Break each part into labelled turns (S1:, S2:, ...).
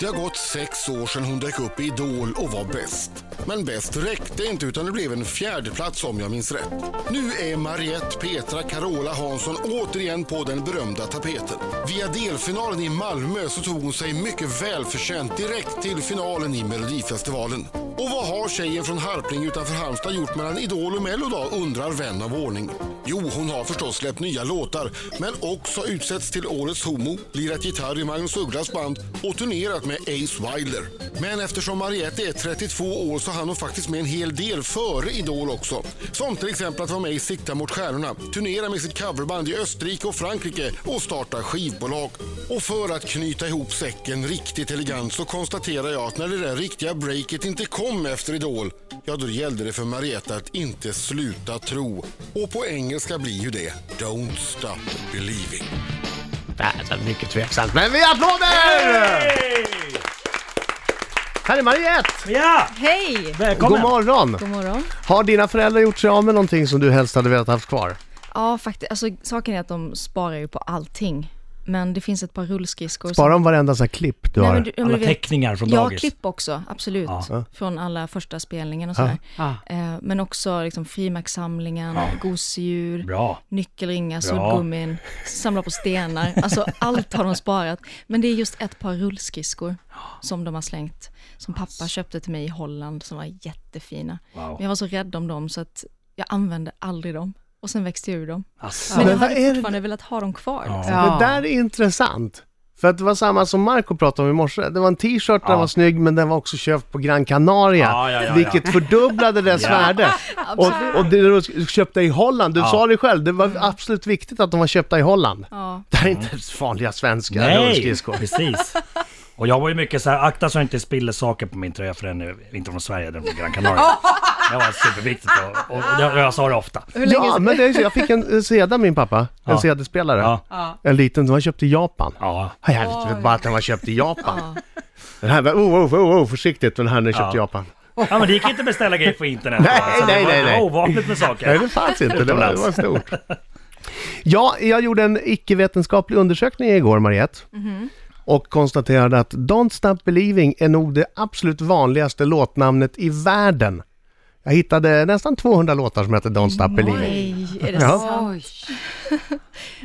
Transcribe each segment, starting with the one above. S1: Det har gått sex år sedan hon dök upp i Idol och var bäst. Men bäst räckte inte utan det blev en fjärdeplats om jag minns rätt. Nu är Mariette Petra Carola Hansson återigen på den berömda tapeten. Via delfinalen i Malmö så tog hon sig mycket välförtjänt direkt till finalen i Melodifestivalen. Och vad har tjejen från Harpling utanför Halmstad gjort mellan Idol och Mello då, undrar vän av ordning. Jo, hon har förstås släppt nya låtar, men också utsetts till Årets Homo, lirat gitarr i Magnus Ugglas band och turnerat med Ace Wilder. Men eftersom Mariette är 32 år så hann hon faktiskt med en hel del före Idol också. Som till exempel att vara med i Sikta mot stjärnorna, turnera med sitt coverband i Österrike och Frankrike och starta skivbolag. Och för att knyta ihop säcken riktigt elegant så konstaterar jag att när det där riktiga breaket inte kom efter Idol, ja då gällde det för Marietta att inte sluta tro. Och på engelska blir ju det Don't stop believing.
S2: Nej, så mycket tveksamt, men vi applåder! Här är Mariette!
S3: Ja!
S4: Hej!
S3: Välkommen!
S2: God morgon!
S4: God morgon.
S2: Har dina föräldrar gjort sig av med någonting som du helst hade velat haft kvar?
S4: Ja, faktiskt. Alltså, saken är att de sparar ju på allting. Men det finns ett par rullskridskor. som-
S2: Bara om varenda så här klipp du
S4: Nej,
S2: har.
S4: men du- ja, men
S3: Alla
S4: du vet-
S3: teckningar från
S4: Ja,
S3: dagis.
S4: klipp också. Absolut. Från alla första spelningen och sådär. Eh, Men också liksom frimärkssamlingen, gosedjur,
S3: Bra.
S4: nyckelringar, suddgummin, samla på stenar. Alltså allt har de sparat. Men det är just ett par rullskridskor som de har slängt. Som
S2: Alltså.
S4: pappa köpte till mig i Holland som var jättefina. Men jag var så rädd om dem så att jag använde aldrig dem. Och sen växte jag ur dem.
S3: Asså.
S4: Men
S2: Men
S4: jag
S2: vad är
S4: hade
S2: det-
S4: fortfarande velat ha dem kvar. liksom.
S2: Det där är intressant. För att det var samma som Marco pratade om i morse. Det var en t-shirt, den var snygg, men den var också köpt på Gran Canaria.
S3: Ja, ja, ja, ja.
S2: vilket fördubblade dess
S3: Ja.
S2: värde. Och, och det du köpte i Holland, du sa det själv, det var absolut viktigt att de var köpta i Holland.
S4: Ja.
S2: Det här är inte ens vanliga svenska
S3: Nej,
S2: rullskridskor.
S3: precis. Och jag var ju mycket så här, akta så jag inte spiller saker på min tröja för den är inte från Sverige, den är från Gran Canaria. Det var superviktigt och, och jag, jag sa det ofta.
S4: Hur länge
S2: Ja, men det, är så- jag fick en eh, CD min pappa, en
S3: Ja.
S2: CD-spelare.
S3: Ja.
S2: En liten som han köpte i Japan.
S3: Ja.
S2: Ja, Jag vet bara att den var köpt i Japan. Den här var, oh, oh, oh, oh, försiktigt, den här den är köpt i
S3: Ja.
S2: Japan.
S3: ja, men det gick inte att beställa grejer på internet.
S2: Nej,
S3: Alltså,
S2: nej,
S3: det var,
S2: nej,
S3: Det
S2: nej.
S3: var ovanligt med
S2: Nej,
S3: saker.
S2: det fanns inte. Det var, det var stort. Ja, jag gjorde en icke-vetenskaplig undersökning igår, Mariette.
S4: Mhm.
S2: Och konstaterade att Don't Stop Believing är nog det absolut vanligaste låtnamnet i världen. Jag hittade nästan 200 låtar som hette Don't
S4: Mm.
S2: Stop Believing.
S4: Nej, är det
S2: Ja.
S4: sant?
S5: Oj.
S4: Ja,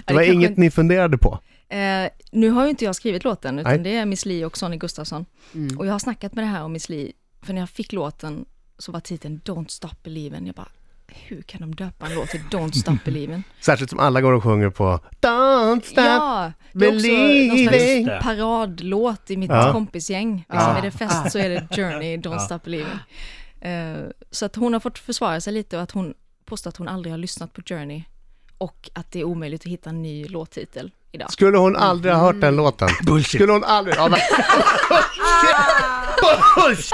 S2: Det var
S4: kanske
S2: inget ni funderade på.
S4: Eh, nu har ju inte jag skrivit låten, utan
S2: Nej.
S4: det är Miss Li och Sonny Gustafsson. Och jag har snackat med det här om Miss Li, för när jag fick låten så var titeln Don't Stop Believin'. Jag bara, hur kan de döpa en låt till Don't Stop Believin'?
S2: Särskilt som alla går och ssjunger på Don't Stop
S4: ja, det är också någon
S2: Believing.
S4: slags paradlåt i mitt
S2: Ja.
S4: kompisgäng. Liksom, Är det fest så är det Journey, Don't Stop Believin'. Eh, så att hon har fått försvara sig lite och att hon påstår att hon aldrig har lyssnat på Journey och att det är omöjligt att hitta en ny låttitel idag.
S2: Skulle hon aldrig ha hört
S4: Mm.
S2: den låten?
S3: Bullshit.
S2: Skulle hon aldrig... Ja, men...
S4: Ah.
S2: Bullshit!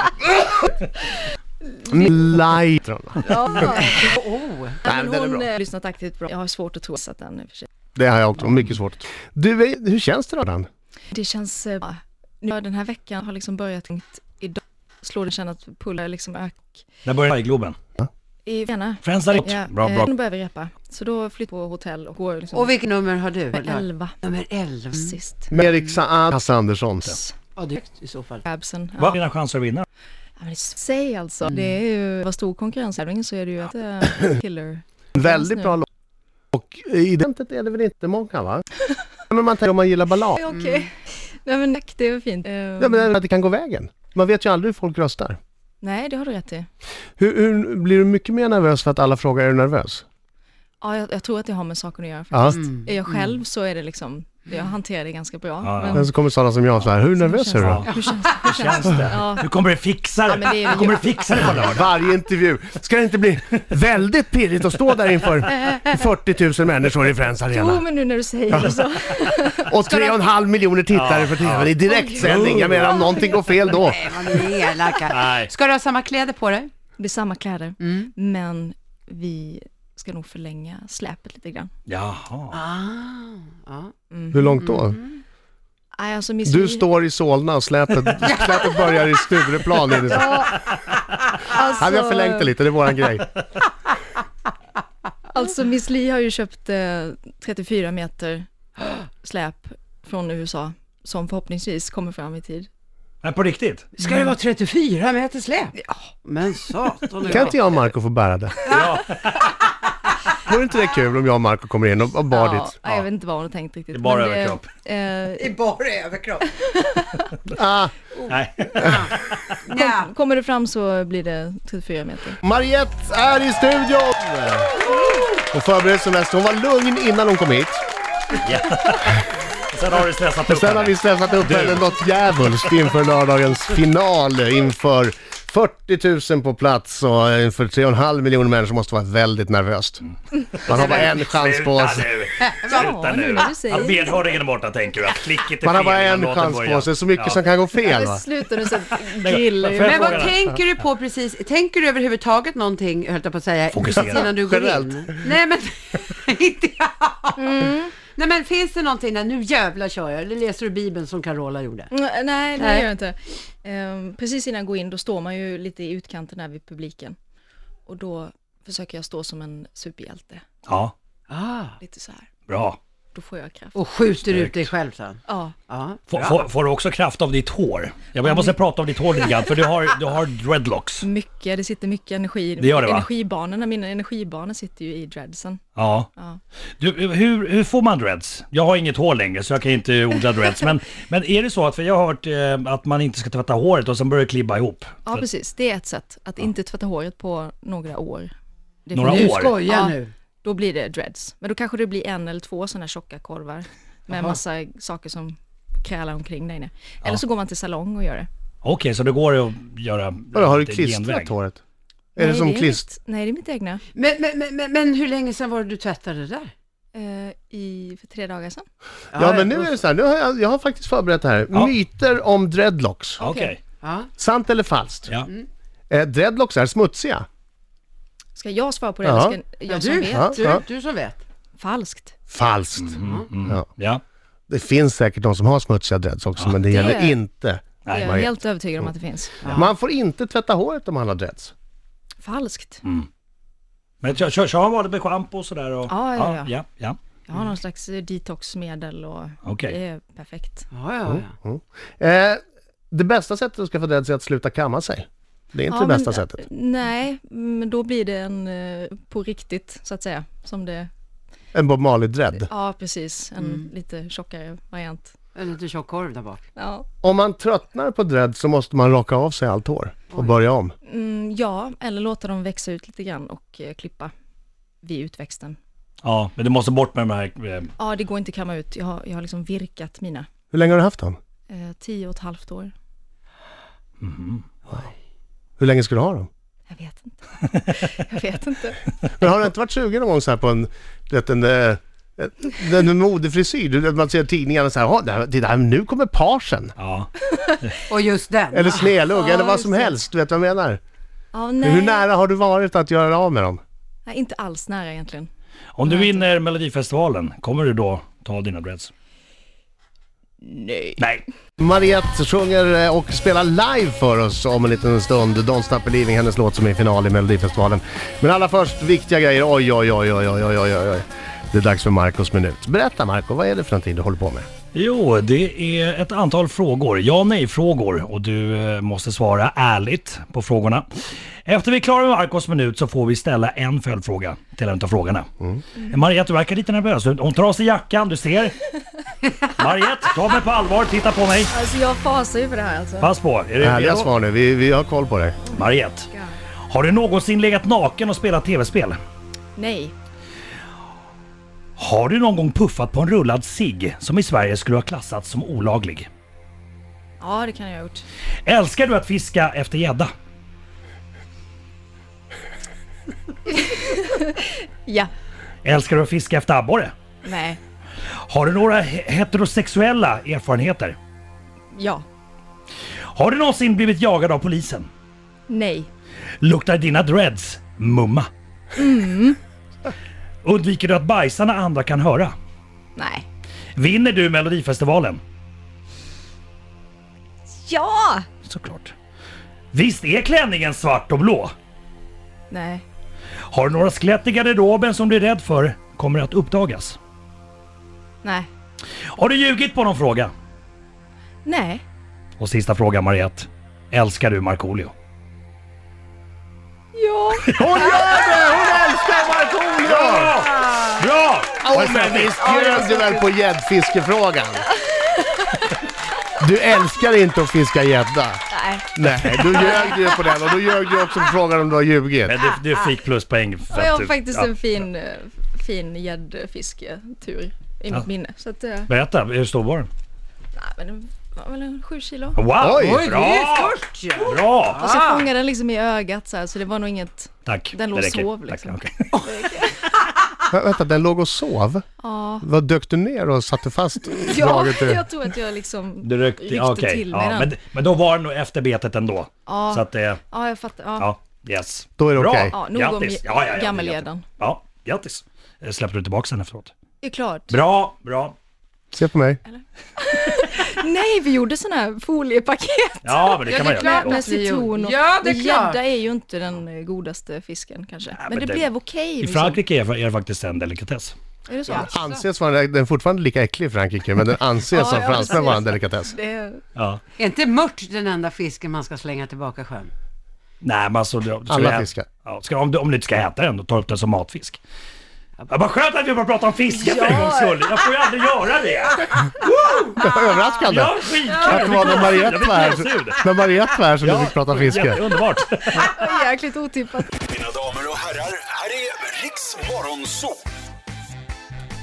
S2: Mm. Light.
S5: Oh.
S2: Nej,
S4: Men
S2: den är
S4: hon
S2: bra.
S4: har lyssnat aktivt bra. Jag har svårt att tro att den är för sig.
S2: Det har jag också, mycket svårt. Du, eh, hur känns det då den?
S4: Det känns... Eh, bra. nu har den här veckan har liksom börjat tänkt idag. Slår den känna att pullar liksom ök
S3: Där började jag i Globen.
S4: i bena.
S3: Friends are
S4: Ja,
S3: Bra,
S4: eh,
S3: bra.
S4: nu börjar vi repa. Så då flyttar vi på hotell och går liksom
S5: Och vilket nummer har du?
S4: med elva
S5: Nummer 11.
S4: sist.
S2: Med Erik Saad, Hasse Andersson.
S5: Ja, det är högt i så fall.
S4: Absen.
S3: Vad är
S4: Ja.
S3: dina chanser att vinna?
S4: Ja, men Säg alltså. Det är ju, vad stor konkurrenstävling så är det ju att eh, killer.
S2: En väldigt bra
S4: nu.
S2: låt. Och eh, i den är det väl inte många va? Men man tänker om man gillar ballad.
S4: Okej.
S5: Mm.
S4: Nej men tack, det är väl fint. Eh,
S2: Ja, men att det kan gå vägen. Man vet ju aldrig hur folk röstar.
S4: Nej, det har du rätt i.
S2: Hur, hur, blir du mycket mer nervös för att alla frågar är du nervös?
S4: Ja, jag, jag tror att det har med saken att göra.
S2: Ja.
S4: Är jag själv så är det liksom, jag hanterar det ganska bra.
S3: Ja, ja.
S4: men-
S2: Men så kommer sådana som jag så här, hur nervös är du då?
S3: Ja.
S4: Hur känns, hur känns det? Ja.
S3: Du kommer att fixa
S4: Ja, men det
S3: det.
S4: är-
S3: Du kommer att fixa det på lördag.
S2: Varje intervju. Ska det inte bli väldigt pirrigt att stå där inför 40 000 människor i Friends
S4: Jo,
S2: Arena?
S4: men nu när du säger det så.
S2: Och 3,5 miljoner tittare på tv i direktsändning. Jag menar om någonting går fel då.
S5: Nej, vad ni är elaka.
S3: Nej.
S5: Ska du ha samma kläder på dig?
S4: Det är samma kläder, men vi ska nog förlänga släpet lite grann.
S3: Jaha.
S5: Ah, ja.
S2: Hur långt då?
S4: Nej, alltså Miss
S2: Mm. Du
S4: Li-
S2: står i Solna och släpet, släpet börjar i Stureplan. Är det så?
S4: alltså,
S2: Ja, vi har förlängt det lite, det är våran grej.
S4: Alltså Miss Li har ju köpt eh, 34 meter släp från USA som förhoppningsvis kommer fram i tid.
S3: Nej, på riktigt?
S5: Ska det vara 34 meter släp? Ja. Men satan
S2: Kan
S5: och jag.
S2: inte jag och Marco få bära det?
S3: Ja.
S2: Vore inte det kul om jag och Marco kommer in och, och bar ditt?
S4: ja, jag vet inte vad hon har tänkt riktigt.
S3: Det är bara
S4: men
S3: överkropp.
S4: eh,
S5: I bara överkropp.
S2: Ah,
S3: Nej.
S5: Ja.
S4: kommer det fram så blir det 34 meter.
S2: Mariette är i studion! Hon förberedde sig mest. Hon var lugn innan hon kom hit.
S3: Sen har du stressat upp
S2: Sen har
S3: henne.
S2: vi stressat upp henne något djävulskt inför lördagens final inför 40 000 på plats och inför 3,5 miljoner människor måste vara väldigt nervöst. Man har bara en chans på sig.
S3: Mm. Sluta nu! Sluta
S4: Ja,
S3: nu!
S4: nu när du säger
S3: Ja,
S4: det.
S3: benhåringen är borta tänker du. Att klicket är
S2: Man har bara
S3: fel i
S2: en
S3: låten
S2: chans
S3: börjar.
S2: på sig, så mycket
S3: Ja.
S2: som kan gå fel va?
S4: Men sluta nu så grillar ju.
S3: Får jag
S4: Men vad-
S5: Men
S3: Frågan
S5: vad
S3: är-
S5: tänker du på precis? Tänker du överhuvudtaget någonting, höll jag på att säga,
S3: Fokusera.
S5: innan du går
S2: Generellt.
S5: in? Nej men, inte jag. Nej men finns det någonting där, nu jävlar kör jag, eller läser du Bibeln som Carola gjorde?
S4: Mm, Nej, det
S5: Nej.
S4: gör jag inte. Ehm, precis innan jag går in, då står man ju lite i utkanten där vid publiken. Och då försöker jag stå som en superhjälte.
S3: Ja,
S5: Ah.
S4: Lite så här.
S3: bra.
S4: Då får jag kraft.
S5: Och skjuter ut dig själv sen.
S4: Ja,
S5: Ja.
S3: Får, får, får du också kraft av ditt hår? Jag, jag måste prata om ditt hår lite grann, för du har, du har dreadlocks.
S4: mycket. Det sitter mycket energi.
S3: Det gör det, va?
S4: Energibanorna, mina energibanor sitter ju i dreadsen.
S3: Ja.
S4: Ja.
S3: Du, hur, hur får man dreads? Jag har inget hår längre, så jag kan inte odla dreads. Men, men är det så att, för jag har hört eh, att man inte ska tvätta håret och sen börjar det klibba ihop.
S4: Ja, precis. Det är ett sätt. Att inte tvätta håret på några år. Det är
S3: Några
S4: för-
S5: Du
S3: År.
S5: skojar
S4: Ja.
S5: nu.
S4: Då blir det dreads. Men då kanske det blir en eller två sådana här tjocka korvar. Med massa saker som krälar omkring där inne. Eller så går man till salong och gör det.
S3: Okej, så det går att göra
S2: Vadå, har du
S3: lite
S2: klistrat
S3: genväg.
S2: håret? Är det
S4: Nej,
S2: som klist?
S4: mitt, Nej, det är mitt egna.
S5: Men, men, men, men, men hur länge sedan var det du tvättade det där?
S4: Eh, i, för tre dagar sedan.
S2: Ja men nu är det så här, nu har jag, jag har faktiskt förberett det här.
S3: Ja.
S2: Myter om dreadlocks.
S3: Okej.
S4: Okej.
S5: Ja.
S2: Sant eller falskt?
S3: Ja.
S2: Eh, dreadlocks är smutsiga.
S4: Ska jag svara på det?
S2: Ja.
S4: eller Ska jag som
S5: du,
S4: vet.
S2: Ja.
S5: Du, du som vet.
S4: Falskt.
S2: Falskt.
S4: Mm,
S2: Ja.
S3: Ja.
S2: Det finns säkert de som har smutsiga dreads också, men det gäller
S4: Det-
S2: inte.
S4: Jag är
S2: Mariette.
S4: helt övertygad om att det finns.
S2: Man får inte tvätta håret om man har dreads.
S4: Falskt.
S2: Mm.
S3: Men kör, kör, kör man med schampo och sådär? Och,
S4: Ja,
S3: ja.
S4: ja, ja.
S3: ja, ja.
S4: Jag har någon slags eh, detoxmedel och
S3: Okej.
S4: det är perfekt.
S5: Ja, ja,
S2: Mm.
S5: ja.
S2: Eh, det bästa sättet att skaffa dreads är att sluta kamma sig. Det är inte
S4: Ja,
S2: det bästa
S4: men,
S2: sättet.
S4: Nej, men då blir det en eh, på riktigt så att säga. Som det,
S2: En Bob Marley-dread.
S4: ja precis, en lite tjockare variant.
S5: En liten tjock korv där bak.
S4: Ja,
S2: Om man tröttnar på dreads så måste man raka av sig allt hår och börja om.
S4: mm, ja eller låta dem växa ut lite grann och eh, klippa vid utväxten.
S3: ja, men du måste bort med de här... eh,
S4: Ja, det går inte att kamma ut. Jag har, jag har liksom virkat mina
S2: Hur länge har du haft dem?
S4: eh, tio och ett halvt år.
S2: Hur länge ska du ha dem?
S4: Jag vet inte. jag vet inte.
S2: Men har du inte varit sugen någon gång så här på en, du vet, en, eh, en, en modefrisyr? Du vet, Man ser i tidningarna så här, "Ja, det här, titta, här, nu kommer parsen.
S3: Ja.
S5: Och just den.
S2: Eller snedlugg, eller vad som
S4: just det.
S2: helst. Du vet vad jag menar?
S4: Ja, nej.
S2: Hur nära har du varit att göra av med dem?
S4: Nej, inte alls nära egentligen.
S3: Om du vinner Melodifestivalen, kommer du då ta dina dreads? Nej. Nej.
S2: Mariette sjunger eh, och spelar live för oss om en liten stund. Don't Stop Believing, hennes låt som är i final i Melodifestivalen. Men allra först, viktiga grejer. Oj, oj, oj, oj, oj, oj, oj, oj. Det är dags för Marcos minut. Berätta Marco, vad är det för någonting du håller på med?
S3: Jo, det är ett antal frågor. Ja nej-frågor. Och du eh, måste svara ärligt på frågorna. Efter vi är klara med Marcos minut så får vi ställa en följdfråga till en av frågorna.
S2: Mm.
S3: Eh, Mariette, du verkar lite nervös. Hon tar av sig jackan, du ser. Mariette, ta mig på allvar. Titta på mig.
S4: Alltså jag fasar ju för det här alltså.
S3: Pass på. Är du
S2: Härliga
S3: redo?
S2: svar nu, vi, vi har koll på dig.
S3: Mariette, har du någonsin legat naken och spelat tv-spel?
S4: Nej,
S3: Har du någon gång puffat på en rullad cigg som i Sverige skulle ha klassats som olaglig?
S4: ja det kan jag ha gjort.
S3: Älskar du att fiska efter gädda?
S4: Ja,
S3: Älskar du att fiska efter abborre?
S4: nej,
S3: Har du några he- heterosexuella erfarenheter?
S4: ja,
S3: Har du någonsin blivit jagad av polisen?
S4: nej,
S3: Luktar dina dreads mumma? Mm. Undviker du att bajsa när andra kan höra?
S4: nej.
S3: Vinner du Melodifestivalen?
S4: Ja!
S3: Såklart. Visst är klänningen svart och blå?
S4: Nej,
S3: Har du några skelett i garderoben som du är rädd för kommer att uppdagas?
S4: nej,
S3: Har du ljugit på någon fråga?
S4: nej,
S3: Och sista frågan Mariette. Älskar du Markoolio?
S4: Ja.
S2: Hon gör det! Hon älskar Markoolio!
S3: Bra!
S2: Åh, men visst bjöd du väl på gäddfiskefrågan? Du älskar inte att fiska gädda.
S4: Nej.
S2: Nej, du ljög ju på den och då ljög du också på frågan om du har ljugit.
S3: Men du, du fick pluspoäng. för
S4: Och jag
S3: att
S4: har
S3: du-
S4: faktiskt
S3: ja.
S4: en fin, eh, fin gäddfisketur i mitt minne. Så att, eh, nej,
S3: Berätta, hur stor var den?
S4: men den var väl en sju kilo.
S3: Wow!
S2: Oj,
S5: Oj, det är
S3: bra!
S5: stort ju!
S3: Bra!
S4: Och så fångade den liksom i ögat så här, så det var nog inget...
S3: Tack.
S4: Den låg
S3: det räcker.
S4: sov,
S3: Tack,
S4: liksom.
S3: okej.
S2: Vä- Vänta, den låg och sov?
S4: Ja,
S2: Vad dök du ner och satte fast
S4: ja
S2: draget? i-
S4: jag tror att jag liksom
S3: Du ryckte,
S4: ryckte
S3: ja, okej.
S4: till mig
S3: ja,
S4: den.
S3: men, men då var den nog efter betet ändå.
S4: Ja.
S3: Så att det,
S4: Ja, jag fattar. Ja.
S3: ja, yes.
S2: Då är det
S3: Bra.
S2: okej.
S4: Ja, nog om
S3: Grattis. Ja, ja, ja,
S4: gammelgäddan.
S3: Ja, grattis. Eh, Släppte du tillbaka den efteråt?
S4: Det är klart.
S3: Bra, bra.
S2: Se på mig.
S4: Nej, vi gjorde sådana här foliepaket
S3: Ja, men det
S5: Ja,
S3: kan
S5: det
S3: man
S5: är
S3: göra.
S5: klart.
S3: Gott.
S4: med
S5: vi gjorde.
S4: citron och...
S5: Ja, det är
S4: men
S5: klart.
S4: Gädda är ju inte den eh, godaste fisken kanske. men,
S3: men
S4: det,
S3: det-
S4: blev okej.
S3: I
S4: liksom.
S3: Frankrike är är det faktiskt en delikatess.
S4: Är det så?
S2: Anses vara, den är fortfarande lika äcklig i Frankrike, men den
S4: Ja,
S2: anses av
S4: ja,
S2: fransmän vara en
S4: precis.
S2: delikatess.
S4: Det är...
S3: Ja.
S5: Är inte mört den enda fisken man ska slänga tillbaka i sjön?
S3: Nej, men alltså... Ska
S2: Alla
S3: vi ä-
S2: fiskar.
S3: Ja, ska, om, du, om du inte ska äta den, då tar du upp den som matfisk. Ja, vad skönt att vi bara pratar om fiske för en gångs skull. Jag får ju aldrig göra det.
S2: Det
S4: Ah.
S2: var överraskande.
S3: Jag är skitkul.
S2: Att det var när Mariette var här, när Mariette var här som du fick prata fiske.
S3: Underbart.
S4: Jäkligt otippat.
S6: Mina damer och herrar, här är Riks Morgonzoo!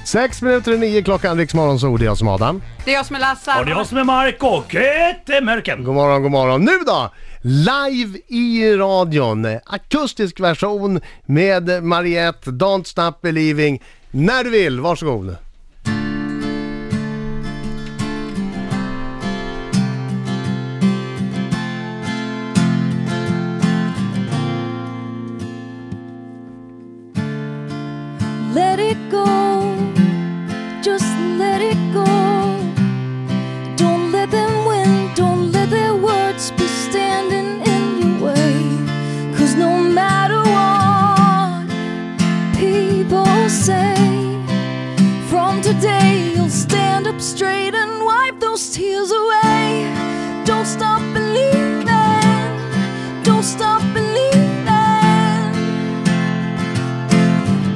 S2: Sex minuter i nio klockan, Riks Morgonzoo, det är jag som är Adam.
S5: Det är jag som är Lasse.
S3: Och det är jag som är Marko och Köttemörken.
S2: God morgon, god morgon. Nu då! Live i radion. Akustisk version med Mariette, Don't Stop Believing. När du vill, varsågod.
S7: Let it go, just let it go. Don't let them win, don't let their words be standing in your way. Cause no matter what people say, from today you'll stand up straight and wipe those tears away. Don't stop believing, don't stop believing.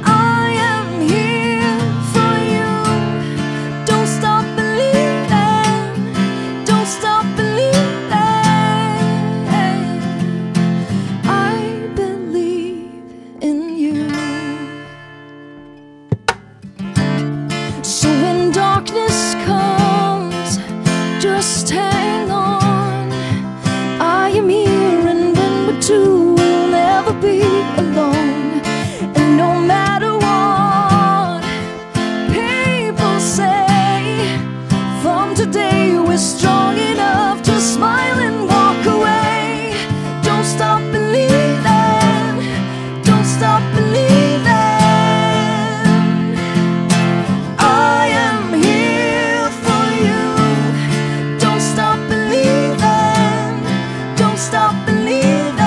S7: I am here for you. Don't stop believing. Don't stop believing. I believe in you. So when darkness comes, just hang on. I am here, and when we're two, we'll never be alone. And no matter what people say, from today we're strong enough to smile and walk away. Don't stop believing. Don't stop believing. I am here for you. Don't stop believing. Don't stop believing.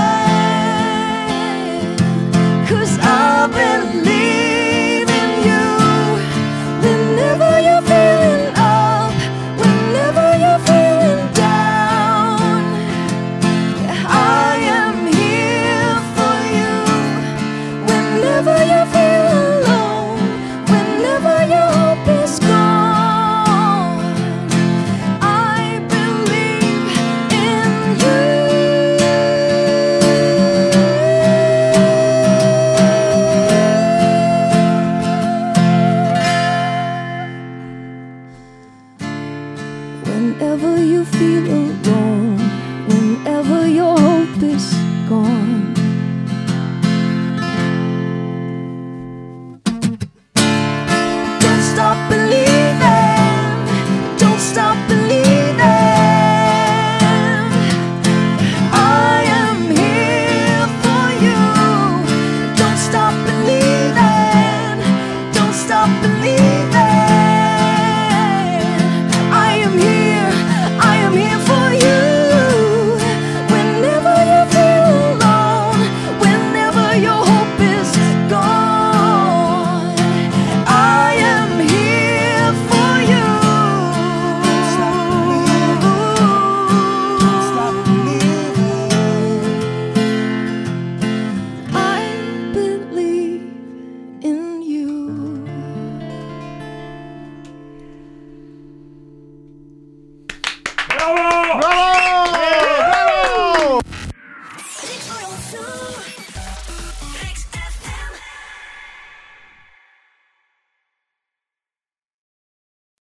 S7: Cause I believe in you. Whenever you're feeling up, whenever you're feeling down, I am here for you. Whenever you feel alone, whenever your hope is gone, I believe in you. Whenever you feel alone, whenever your hope is gone. Don't stop believing. Don't stop believing. I am here for you. Don't stop believing. Don't stop believing. I am here. I am here for you.
S8: Bravo!
S3: Bravo!